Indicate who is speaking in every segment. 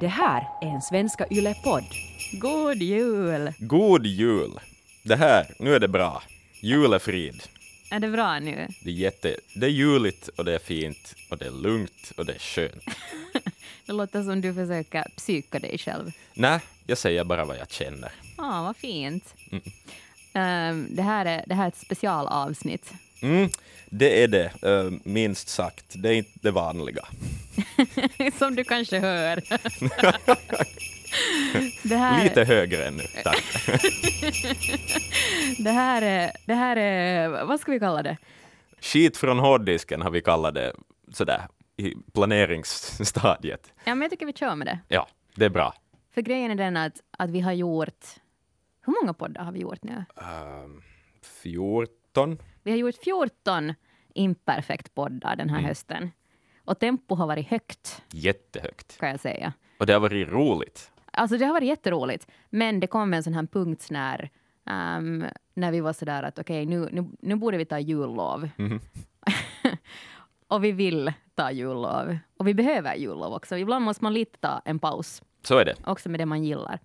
Speaker 1: Det här är en Svenska Yle-podd.
Speaker 2: God jul!
Speaker 3: God jul! Det här, nu är det bra. Julefrid.
Speaker 2: Är det bra nu?
Speaker 3: Det är, jätte, det är juligt och det är fint och det är lugnt och det är skönt.
Speaker 2: Det låter som du försöker psyka dig själv.
Speaker 3: Nej, jag säger bara vad jag känner.
Speaker 2: Ja, vad fint. Ehm, det, här är, det här är ett specialavsnitt.
Speaker 3: Mm, det är det, eh, minst sagt. Det är inte det vanliga.
Speaker 2: som du kanske hör. det, här,
Speaker 3: Lite högre ännu, tack.
Speaker 2: det, här är, det här är... Vad ska vi kalla det?
Speaker 3: Skit från hårddisken har vi kallat det sådär i planeringsstadiet.
Speaker 2: Ja, men jag tycker vi kör med det.
Speaker 3: Ja, det är bra.
Speaker 2: För grejen är den att, att vi har gjort... Hur många poddar har vi gjort nu?
Speaker 3: Ehm, 14.
Speaker 2: Vi har gjort 14 imperfekt poddar den här hösten. Och tempo har varit högt,
Speaker 3: Jättehögt.
Speaker 2: kan jag säga.
Speaker 3: Och det har varit roligt.
Speaker 2: Alltså det har varit jätteroligt, men det kom en sån här punkt när, ehm, när vi var sådär att okej, nu, nu, nu borde vi ta jullov. och vi vill ta jullov. Och vi behöver jullov också. Ibland måste man lite ta en paus,
Speaker 3: Så är det.
Speaker 2: också med det man gillar.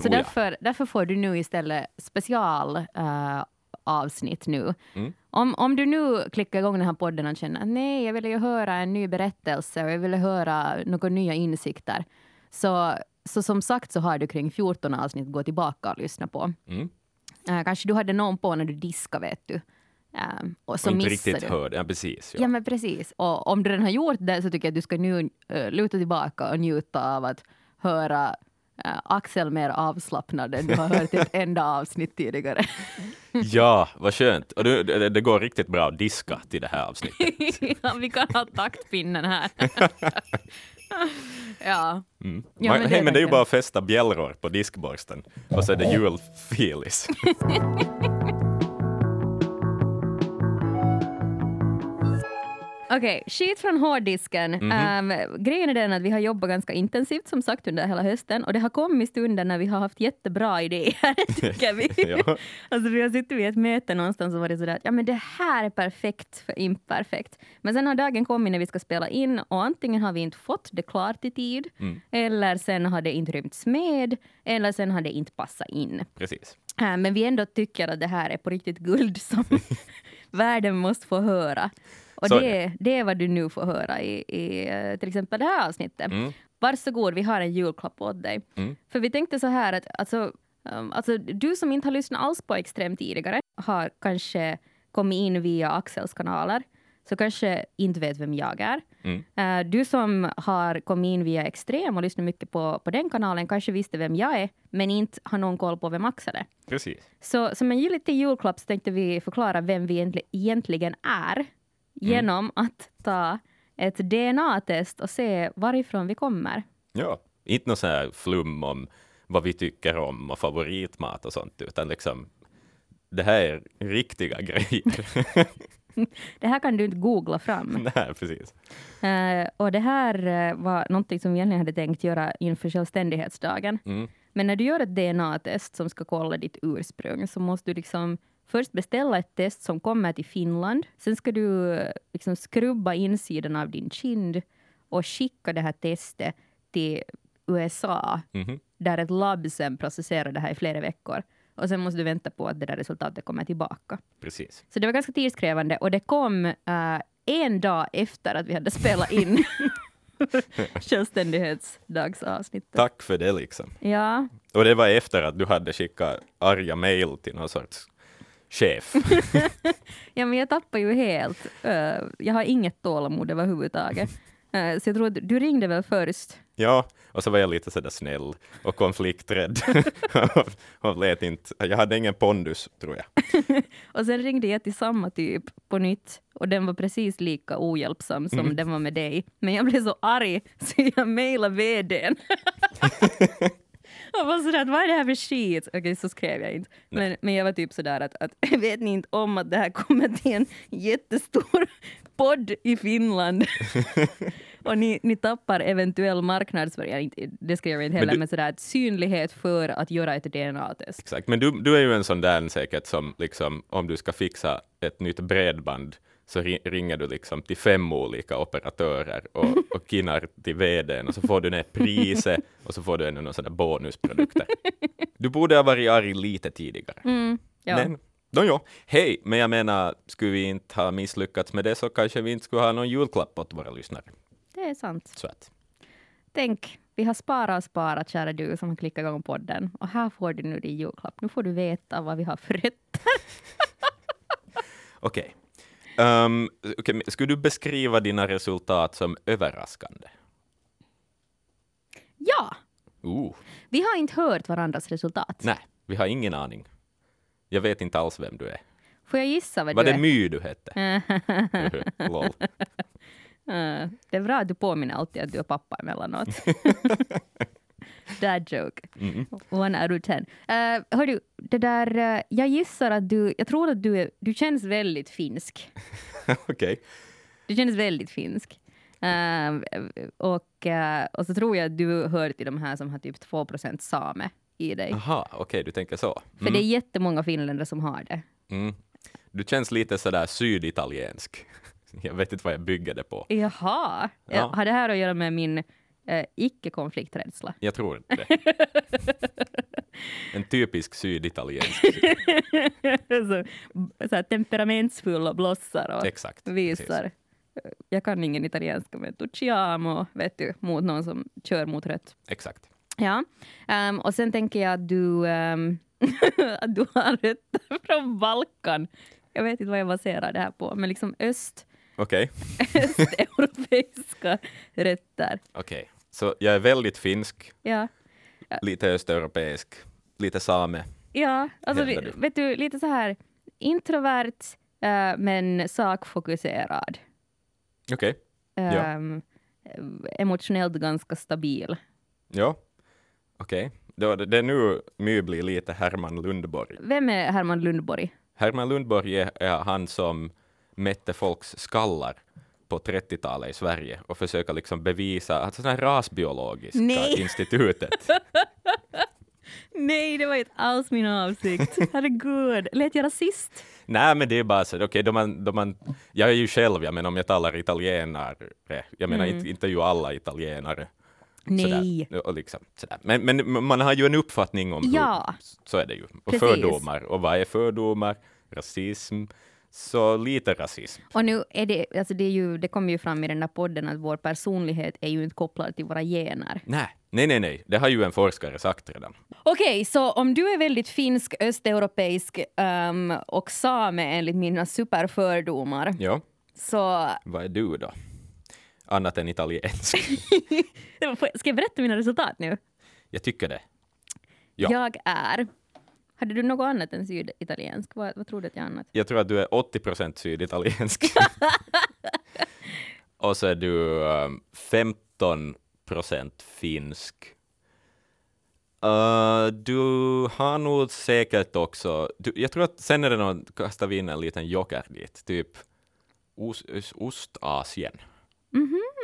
Speaker 2: Så
Speaker 3: Oh ja.
Speaker 2: därför, därför får du nu istället special eh, avsnitt nu.
Speaker 3: Mm.
Speaker 2: Om, om du nu klickar igång den här podden och känner att nej, jag ville ju höra en ny berättelse och jag ville höra några nya insikter. Så, så som sagt så har du kring 14 avsnitt gå tillbaka och lyssna på.
Speaker 3: Mm.
Speaker 2: Eh, kanske du hade någon på när du diskade, vet du. Eh, och så
Speaker 3: Och inte
Speaker 2: missade
Speaker 3: riktigt
Speaker 2: du.
Speaker 3: hörde. Ja, precis.
Speaker 2: Ja, men precis. Och om du redan har gjort det så tycker jag att du ska nu eh, luta tillbaka och njuta av att höra eh, Axel mer avslappnad än du har hört i ett enda avsnitt tidigare.
Speaker 3: Ja, vad skönt. Och du, det, det går riktigt bra att diska till det här avsnittet.
Speaker 2: ja, vi kan ha taktpinnen här. ja. Ja,
Speaker 3: men,
Speaker 2: men det
Speaker 3: hej, men det är ju
Speaker 2: verkligen.
Speaker 3: bara att fästa bjällror på diskborsten och så är det julfilis.
Speaker 2: Okej, skit från hårddisken. Ehm, grejen är den att vi har jobbat ganska intensivt som sagt under hela hösten och det har kommit stunder när vi har haft jättebra idéer tycker vi.
Speaker 3: Ja.
Speaker 2: Alltså vi har suttit vid ett möte någonstans och varit sådär att ja men det här är perfekt för imperfekt. Men sen har dagen kommit när vi ska spela in och antingen har vi inte fått det klart i tid eller sen har det inte rymts med eller sen har det inte passat in.
Speaker 3: Precis.
Speaker 2: Äh, Men vi ändå tycker att det här är på riktigt guld som världen måste få höra. Och
Speaker 3: Så är
Speaker 2: det, det är vad du nu får höra i, i eh, till exempel det här avsnittet.
Speaker 3: Mm.
Speaker 2: Varsågod, vi har en julklapp åt dig. För vi tänkte så här att alltså, um, alltså, du som inte har lyssnat alls på Extrem tidigare har kanske kommit in via Axels kanaler så kanske inte vet vem jag är.
Speaker 3: Mm.
Speaker 2: Eh, du som har kommit in via Extrem och lyssnat mycket på, på den kanalen kanske visste vem jag är men inte har någon koll på vem Axel är.
Speaker 3: Precis.
Speaker 2: Så som en liten julklapp så tänkte vi förklara vem vi egentlig- egentligen är genom att ta ett DNA-test och se varifrån vi kommer.
Speaker 3: Ja. Inte något sån här flum om vad vi tycker om och favoritmat och sånt, utan liksom det här är riktiga grejer.
Speaker 2: Det här kan du inte googla fram.
Speaker 3: Nej, precis.
Speaker 2: Eh, och det här eh, var någonting som vi egentligen hade tänkt göra inför självständighetsdagen. Men när du gör ett DNA-test som ska kolla ditt ursprung så måste du liksom först beställa ett test som kommer till Finland. Sen ska du eh, liksom skrubba insidan av din kind och skicka det här testet till USA
Speaker 3: Mhm.
Speaker 2: där ett labb sen processerar det här i flera veckor. Och sen måste du vänta på att det där resultatet kommer tillbaka.
Speaker 3: Precis.
Speaker 2: Så det var ganska tidskrävande och det kom eh, en dag efter att vi hade spelat in självständighetsdagsavsnittet.
Speaker 3: Tack för det liksom.
Speaker 2: Ja,
Speaker 3: Och det var efter att du hade skickat arga mejl till någon sorts chef.
Speaker 2: ja, men jag tappar ju helt. eh, jag har inget tålamod överhuvudtaget. Uh, så jag tror att du ringde väl först?
Speaker 3: Ja, och så var jag lite sådär snäll och konflikträdd. och lät inte, jag hade ingen pondus, tror jag.
Speaker 2: Och sen ringde jag till samma typ på nytt och den var precis lika ohjälpsam som
Speaker 3: Mm.
Speaker 2: den var med dig. Men jag blev så arg så jag mejlade vdn. Och var sådär att vad är det här för skit? Okej, så skrev jag inte. Men, men jag var typ sådär att, att vet ni inte om att det här kommer till en jättestor podd i Finland? Och ni, ni tappar eventuell marknadsföring. Det skrev jag inte heller, men,
Speaker 3: du-
Speaker 2: sådär att synlighet för att göra ett DNA-test.
Speaker 3: Exakt. Men du, du är ju en sån där säkert som liksom, om du ska fixa ett nytt bredband så ri- ringer du liksom till fem olika operatörer och, och kinnar till vdn och så får du ner priset och så får du ännu någon sån där bonusprodukter. Du borde ha varit arg lite tidigare.
Speaker 2: Ja.
Speaker 3: Men, no, ja. Hej, men jag menar, skulle vi inte ha misslyckats med det så kanske vi inte skulle ha någon julklapp åt våra lyssnare.
Speaker 2: Det är sant.
Speaker 3: Så att,
Speaker 2: Tänk, vi har sparat och sparat, kära du som har klickat igång podden. Och här får du nu din julklapp. Nu får du veta vad vi har för rätt.
Speaker 3: okej. Ehm, okej, men skulle du beskriva dina resultat som överraskande?
Speaker 2: Ja!
Speaker 3: Uh,
Speaker 2: Vi har inte hört varandras resultat.
Speaker 3: nej, vi har ingen aning. Jag vet inte alls vem du är.
Speaker 2: Får jag gissa vad
Speaker 3: Var
Speaker 2: du
Speaker 3: det
Speaker 2: är?
Speaker 3: My du hette? Lol.
Speaker 2: Eh, det är bra att du påminner alltid att du är pappa emellanåt. Dad joke. One out of ten. Uh, hördu, det där, eh, jag gissar att du, jag tror att du, är, du känns väldigt finsk.
Speaker 3: Okej.
Speaker 2: Du känns väldigt finsk. Eh, och, eh, och så tror jag att du hör till de här som har typ 2 same i dig.
Speaker 3: Aha, okej, du tänker så.
Speaker 2: För det är jättemånga finländare som har det.
Speaker 3: Mm. Du känns lite sådär syditaliensk. Jag vet inte vad jag bygger det på.
Speaker 2: Jaha,
Speaker 3: Ja.
Speaker 2: har det här att göra med min eh, icke-konflikträdsla?
Speaker 3: Jag tror inte det. En typisk syditaliensk.
Speaker 2: så, så här, temperamentsfull och blossar och
Speaker 3: Exakt.
Speaker 2: visar. Jag kan ingen italienska, men tucciamo, vet du, mot någon som kör mot rött.
Speaker 3: Exakt.
Speaker 2: Ja, Ehm, och sen tänker jag att du, ehm, att du har rötter från Balkan. Jag vet inte vad jag baserar det här på, men liksom öst,
Speaker 3: Okej.
Speaker 2: östeuropeiska rötter.
Speaker 3: Okej. Så jag är väldigt finsk,
Speaker 2: Ja,
Speaker 3: lite östeuropeisk, lite same.
Speaker 2: ja alltså,
Speaker 3: Hävdar
Speaker 2: li-
Speaker 3: du.
Speaker 2: vet du, lite så här introvert, eh, men sakfokuserad.
Speaker 3: Okej. Ja.
Speaker 2: Ehm, emotionellt ganska stabil.
Speaker 3: Ja. Okej. Då- Det är nu My blir lite Herman Lundborg.
Speaker 2: Vem är Herman Lundborg?
Speaker 3: Herman Lundborg är, är han som mätte folks skallar på 30-talet i Sverige och försöka liksom bevisa, alltså sådana här rasbiologiska
Speaker 2: Nej.
Speaker 3: institutet.
Speaker 2: Nej, det var inte alls min avsikt. Herregud, lät jag rasist?
Speaker 3: Nej, men det är bara så, okej, då man, då man, jag är ju själv, jag menar om jag talar italienare, jag menar inte, inte ju alla italienare.
Speaker 2: Nej.
Speaker 3: Sådär, och liksom, sådär. Men, men man har ju en uppfattning om
Speaker 2: Ja.
Speaker 3: hur, så är det ju, och
Speaker 2: Precis.
Speaker 3: fördomar, och vad är fördomar, rasism, så lite rasism.
Speaker 2: Och nu är det, alltså det, är ju, det kom ju fram i den där podden att vår personlighet är ju inte kopplad till våra gener.
Speaker 3: Nej, nej, nej, nej, det har ju en forskare sagt redan.
Speaker 2: Okej, så om du är väldigt finsk, östeuropeisk ehm, och same enligt mina superfördomar,
Speaker 3: Ja.
Speaker 2: så
Speaker 3: Vad är du då? Annat än italiensk.
Speaker 2: ska jag berätta mina resultat nu?
Speaker 3: Jag tycker det. Ja.
Speaker 2: Jag är... Hade du något annat än syditaliensk? Vad, vad tror du att jag är annat?
Speaker 3: Jag tror att du är 80 procent syditaliensk. Och så är du ehm, 15 procent finsk. Eh, du har nog säkert också... Du, jag tror att sen är det någon, kastar vi in en liten joker dit, typ os, Ös- Ostasien.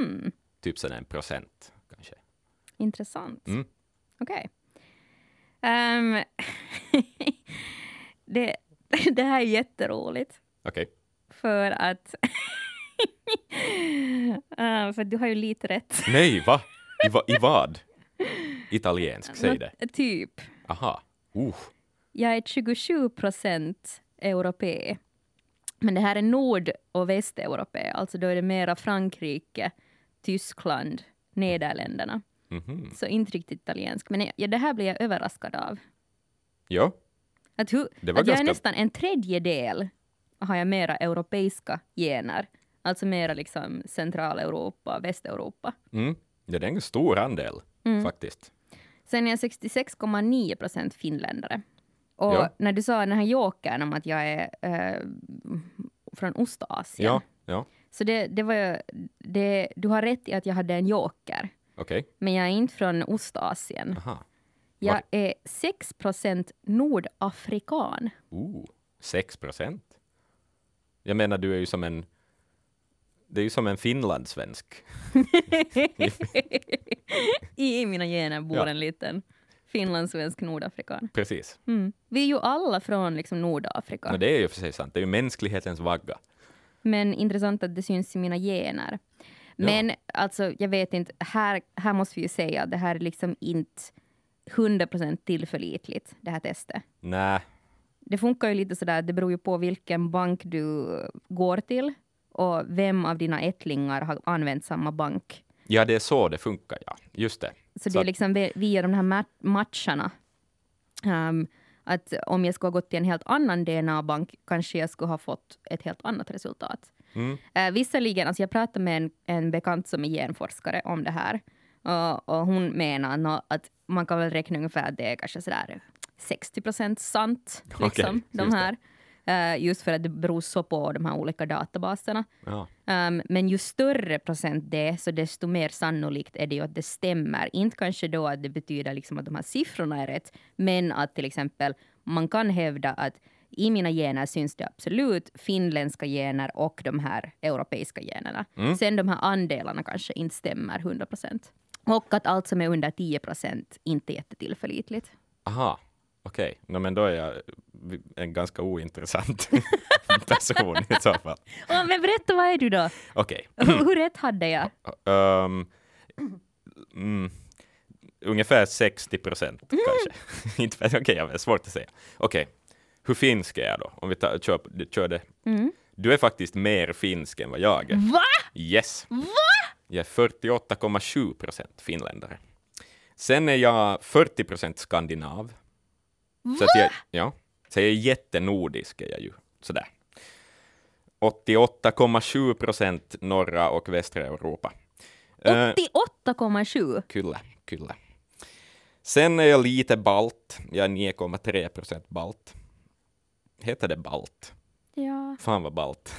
Speaker 2: Hmm,
Speaker 3: Typ sen en procent, kanske.
Speaker 2: Intressant.
Speaker 3: Mm.
Speaker 2: Okej. Ehm, det, det här är jätteroligt.
Speaker 3: Okej.
Speaker 2: För att... Ehm, för du har ju lite rätt.
Speaker 3: Nej, va? I, va? I vad? Italiensk, säg det.
Speaker 2: Nå- Typ.
Speaker 3: Aha. Uh.
Speaker 2: Jag är 27 procent europé. Men det här är nord och västeuropé. Alltså då är det mera Frankrike, Tyskland, Nederländerna.
Speaker 3: Mhm.
Speaker 2: Så inte riktigt italiensk. Men ja, det här blir jag överraskad av.
Speaker 3: Ja.
Speaker 2: Att, hu,
Speaker 3: Det var
Speaker 2: att jag är
Speaker 3: ganska-
Speaker 2: nästan en tredjedel har jag mera europeiska gener. Alltså mera liksom Centraleuropa, Västeuropa.
Speaker 3: Mm. Ja, det är en stor andel faktiskt.
Speaker 2: Sen är jag 66,9 procent finländare. Och
Speaker 3: Ja.
Speaker 2: när du sa den här jokern om att jag är eh, från Ostasien.
Speaker 3: Ja, ja.
Speaker 2: Så det, det var ju- det, du har rätt i att jag hade en joker.
Speaker 3: Okej.
Speaker 2: Men jag är inte från Ostasien.
Speaker 3: Aha.
Speaker 2: Jag
Speaker 3: Var-
Speaker 2: är 6 procent nordafrikan.
Speaker 3: Uh. 6 procent. Jag menar, du är ju som en... Det är ju som en finlandssvensk.
Speaker 2: I mina gener bor
Speaker 3: Ja.
Speaker 2: en liten finlandssvensk nordafrikan. Mm.
Speaker 3: Precis.
Speaker 2: Vi är ju alla från liksom Nordafrika.
Speaker 3: Men det är ju för sig sant. Det är ju mänsklighetens vagga.
Speaker 2: Men intressant att det syns i mina gener. Men alltså, jag vet inte, här, här måste vi ju säga att det här är liksom inte 100% tillförlitligt, det här testet.
Speaker 3: Nej.
Speaker 2: Det funkar ju lite sådär, det beror ju på vilken bank du går till och vem av dina ättlingar har använt samma bank.
Speaker 3: Ja, det är så det funkar, ja. Just det.
Speaker 2: Så,
Speaker 3: Så
Speaker 2: det är
Speaker 3: att-
Speaker 2: liksom ve- via de här ma- matcherna. Ehm, att om jag skulle ha gått till en helt annan DNA-bank kanske jag skulle ha fått ett helt annat resultat.
Speaker 3: Mm.
Speaker 2: Uh, visserligen, alltså jag pratade med en, en bekant som är genforskare om det här. Och, och hon menar nå- att man kan väl räkna ungefär att det är kanske sådär 60 procent sant,
Speaker 3: Okej,
Speaker 2: liksom, de
Speaker 3: just det.
Speaker 2: här. Eh, just för att det beror så på de här olika databaserna.
Speaker 3: Ja.
Speaker 2: Ehm, men ju större procent det är, så desto mer sannolikt är det ju att det stämmer. Inte kanske då att det betyder liksom att de här siffrorna är rätt, men att till exempel man kan hävda att i mina gener syns det absolut finländska gener och de här europeiska generna. Sen de här andelarna kanske inte stämmer 100 procent. Och att allt som är under 10 procent inte är jättetillförlitligt.
Speaker 3: Aha, okej. Nå, men då är jag en ganska ointressant person i så fall.
Speaker 2: Åh, men berätta, vad är du då?
Speaker 3: Okej.
Speaker 2: Hur, hur rätt hade jag?
Speaker 3: Ehm, mm, ungefär 60 procent kanske. Inte vet- Okej, jag vet, svårt att säga. Okej, hur finsk är jag då? Om vi tar, kör, på- kör det. Du är faktiskt mer finsk än vad jag är.
Speaker 2: Va?
Speaker 3: Yes.
Speaker 2: Va?
Speaker 3: Jag är 48,7 procent finländare. Sen är jag 40 procent skandinav. Så att jag, ja. Så jag är jättenordisk, är jag ju. Sådär. 88,7 procent norra och västra Europa. Eh,
Speaker 2: 88,7.
Speaker 3: Kyllä, kyllä. Sen är jag lite balt. Jag är 9,3 procent balt. Heter det balt?
Speaker 2: Ja.
Speaker 3: Fan vad balt.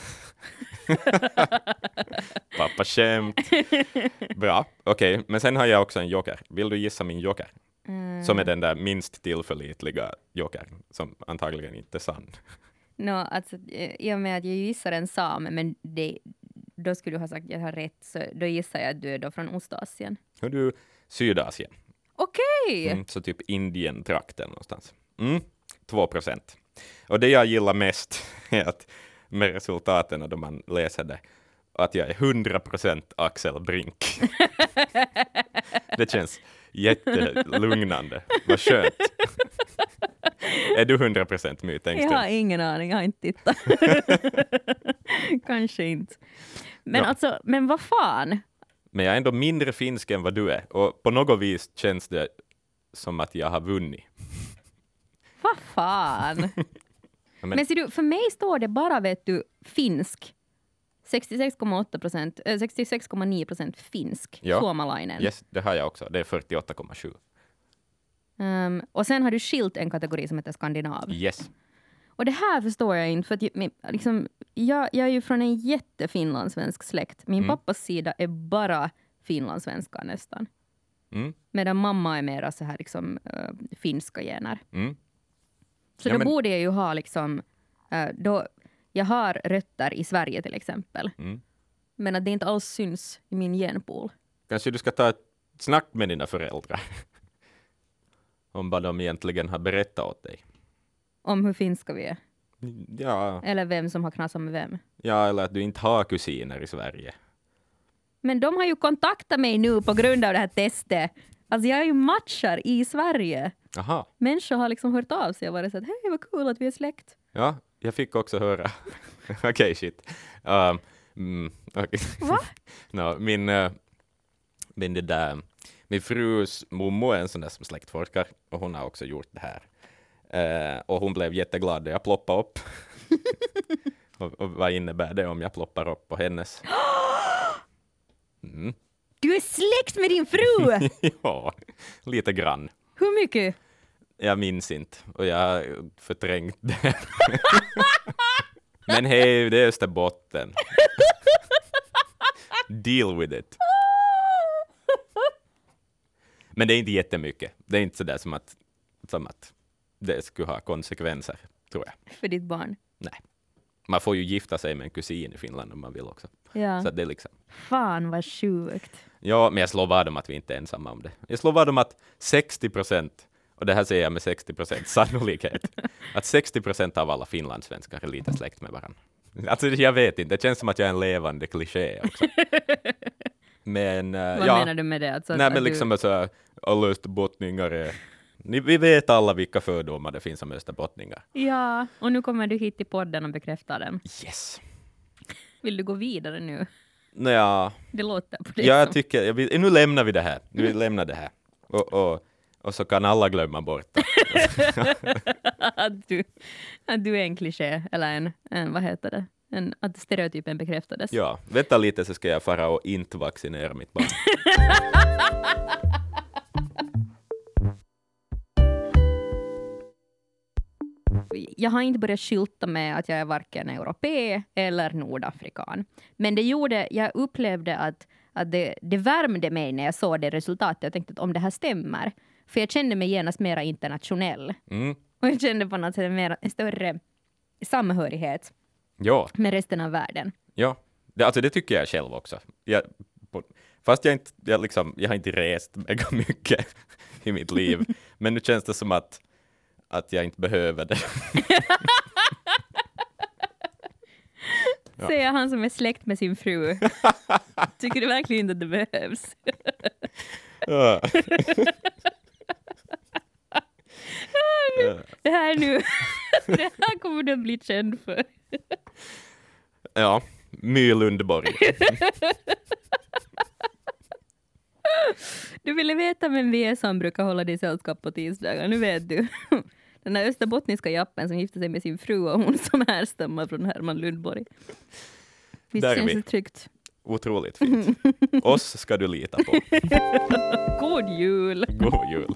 Speaker 3: Pappa skämt. Bra, okej. Men sen har jag också en joker. Vill du gissa min joker?
Speaker 2: Mm.
Speaker 3: Som är den där minst tillförlitliga jokern, som antagligen inte är sann.
Speaker 2: Nå, alltså, eh, i och med att jag gissar en sam, men det, då skulle du ha sagt att jag har rätt, så då gissar jag att du är då från Ostasien.
Speaker 3: Hör du, Sydasien.
Speaker 2: Okej!
Speaker 3: Mm, så typ Indien-trakten någonstans. Mm, 2 procent. Och det jag gillar mest är att med resultaten och då man läser det, att jag är 100 procent Axel Brink. det känns jättelugnande. Vad skönt. är du 100 procent My
Speaker 2: Jag har
Speaker 3: Tengström?
Speaker 2: ingen aning, jag har inte tittat. Kanske inte. Men
Speaker 3: Ja.
Speaker 2: alltså, men vad fan?
Speaker 3: Men jag är ändå mindre finsk än vad du är. Och på något vis känns det som att jag har vunnit.
Speaker 2: Vad fan?
Speaker 3: Ja,
Speaker 2: men ser du, för mig står det bara, vet du, finsk. 66,8 procent, eh, 66,9 procent finsk,
Speaker 3: Ja.
Speaker 2: suomalainen.
Speaker 3: Yes, det har jag också. Det är 48,7.
Speaker 2: Ehm, och sen har du skilt en kategori som heter skandinav.
Speaker 3: Yes.
Speaker 2: Och det här förstår jag inte, för att, ju- men, liksom, jag, jag är ju från en jättefinlandssvensk släkt. Min pappas sida är bara finlandssvenska nästan.
Speaker 3: Mm.
Speaker 2: Medan mamma är mera så här liksom, eh, finska gener.
Speaker 3: Mm.
Speaker 2: Så
Speaker 3: Ja,
Speaker 2: då
Speaker 3: men-
Speaker 2: borde jag ju ha liksom, eh, då, jag har rötter i Sverige till exempel.
Speaker 3: Mm.
Speaker 2: Men att det inte alls syns i min genpool.
Speaker 3: Kanske du ska ta ett snack med dina föräldrar. Om vad de egentligen har berättat åt dig.
Speaker 2: Om hur finska vi är.
Speaker 3: Ja,
Speaker 2: Eller vem som har knasat med vem.
Speaker 3: ja eller att du inte har kusiner i Sverige.
Speaker 2: Men de har ju kontaktat mig nu på grund av det här testet. Alltså jag är ju matchar i Sverige.
Speaker 3: Aha,
Speaker 2: Människor har liksom hört av sig och varit så att hej vad kul att vi är släkt.
Speaker 3: ja, jag fick också höra. Okej, shit. Um, mm, okej.
Speaker 2: Va?
Speaker 3: Nå, min, eh, min, det där, min frus mommo är en sån där som släktforskar och hon har också gjort det här. Eh, och hon blev jätteglad när jag ploppade upp. och, och vad innebär det om jag ploppar upp på hennes? Mm.
Speaker 2: Du är släkt med din fru!
Speaker 3: ja, lite grann.
Speaker 2: Hur mycket?
Speaker 3: Jag minns inte och jag har förträngt det. Men hej, det är Österbotten. Deal with it. Men det är inte jättemycket. Det är inte sådär som att, som att det skulle ha konsekvenser, tror jag.
Speaker 2: För ditt barn.
Speaker 3: Nej. Man får ju gifta sig med en kusin i Finland om man vill också.
Speaker 2: Ja.
Speaker 3: Så att det är liksom.
Speaker 2: Fan vad sjukt.
Speaker 3: Ja, men jag slår vad om att vi inte är ensamma om det. Jag slår vad om att 60 procent, och det här säger jag med 60 procent sannolikhet, att 60 procent av alla finlandssvenskar är lite släkt med varandra. Alltså jag vet inte, det känns som att jag är en levande kliché också. Men eh,
Speaker 2: Vad
Speaker 3: ja,
Speaker 2: menar du med det? Alltså,
Speaker 3: nej
Speaker 2: att
Speaker 3: men liksom alltså, alla österbottningar är... Ni, vi vet alla vilka fördomar det finns om österbottningar.
Speaker 2: du, Ja, och nu kommer du hit till podden och bekräftar den.
Speaker 3: Yes!
Speaker 2: Vill du gå vidare nu?
Speaker 3: Nja,
Speaker 2: Det låter på det
Speaker 3: ja, jag
Speaker 2: som.
Speaker 3: tycker... Jag vill, nu lämnar vi det här. Nu lämnar det här. Och, och, och så kan alla glömma bort det.
Speaker 2: att, du, att du är en kliché, eller en, en vad heter det? En, att stereotypen bekräftades.
Speaker 3: Ja, vänta lite så ska jag fara och inte vaccinera mitt barn.
Speaker 2: Jag har inte börjat skylta med att jag är varken europé eller nordafrikan. Men det gjorde, jag upplevde att, att det, det värmde mig när jag såg det resultatet. Jag tänkte att om det här stämmer, för jag kände mig genast mera internationell.
Speaker 3: Mm.
Speaker 2: Och jag kände på något sätt en, mera, en större samhörighet
Speaker 3: Ja,
Speaker 2: med resten av världen.
Speaker 3: ja. Det, alltså det tycker jag själv också. Jag, på, fast jag, inte, jag, liksom, jag har inte rest mega mycket i mitt liv, men nu känns det som att, att jag inte behöver det. Ja.
Speaker 2: Säger han som är släkt med sin fru. Tycker du verkligen inte att det behövs?
Speaker 3: Ja.
Speaker 2: Det här nu, det här kommer du att bli känd för.
Speaker 3: ja, My Lundborg.
Speaker 2: Du ville veta vem vi är som brukar hålla dig sällskap på tisdagar, nu vet du. Den där österbottniska jappen som gifte sig med sin fru och hon som härstammar från Herman Lundborg. Visst
Speaker 3: Där är
Speaker 2: känns
Speaker 3: vi.
Speaker 2: det tryggt?
Speaker 3: Otroligt fint. Oss ska du lita på.
Speaker 2: God jul!
Speaker 3: God jul.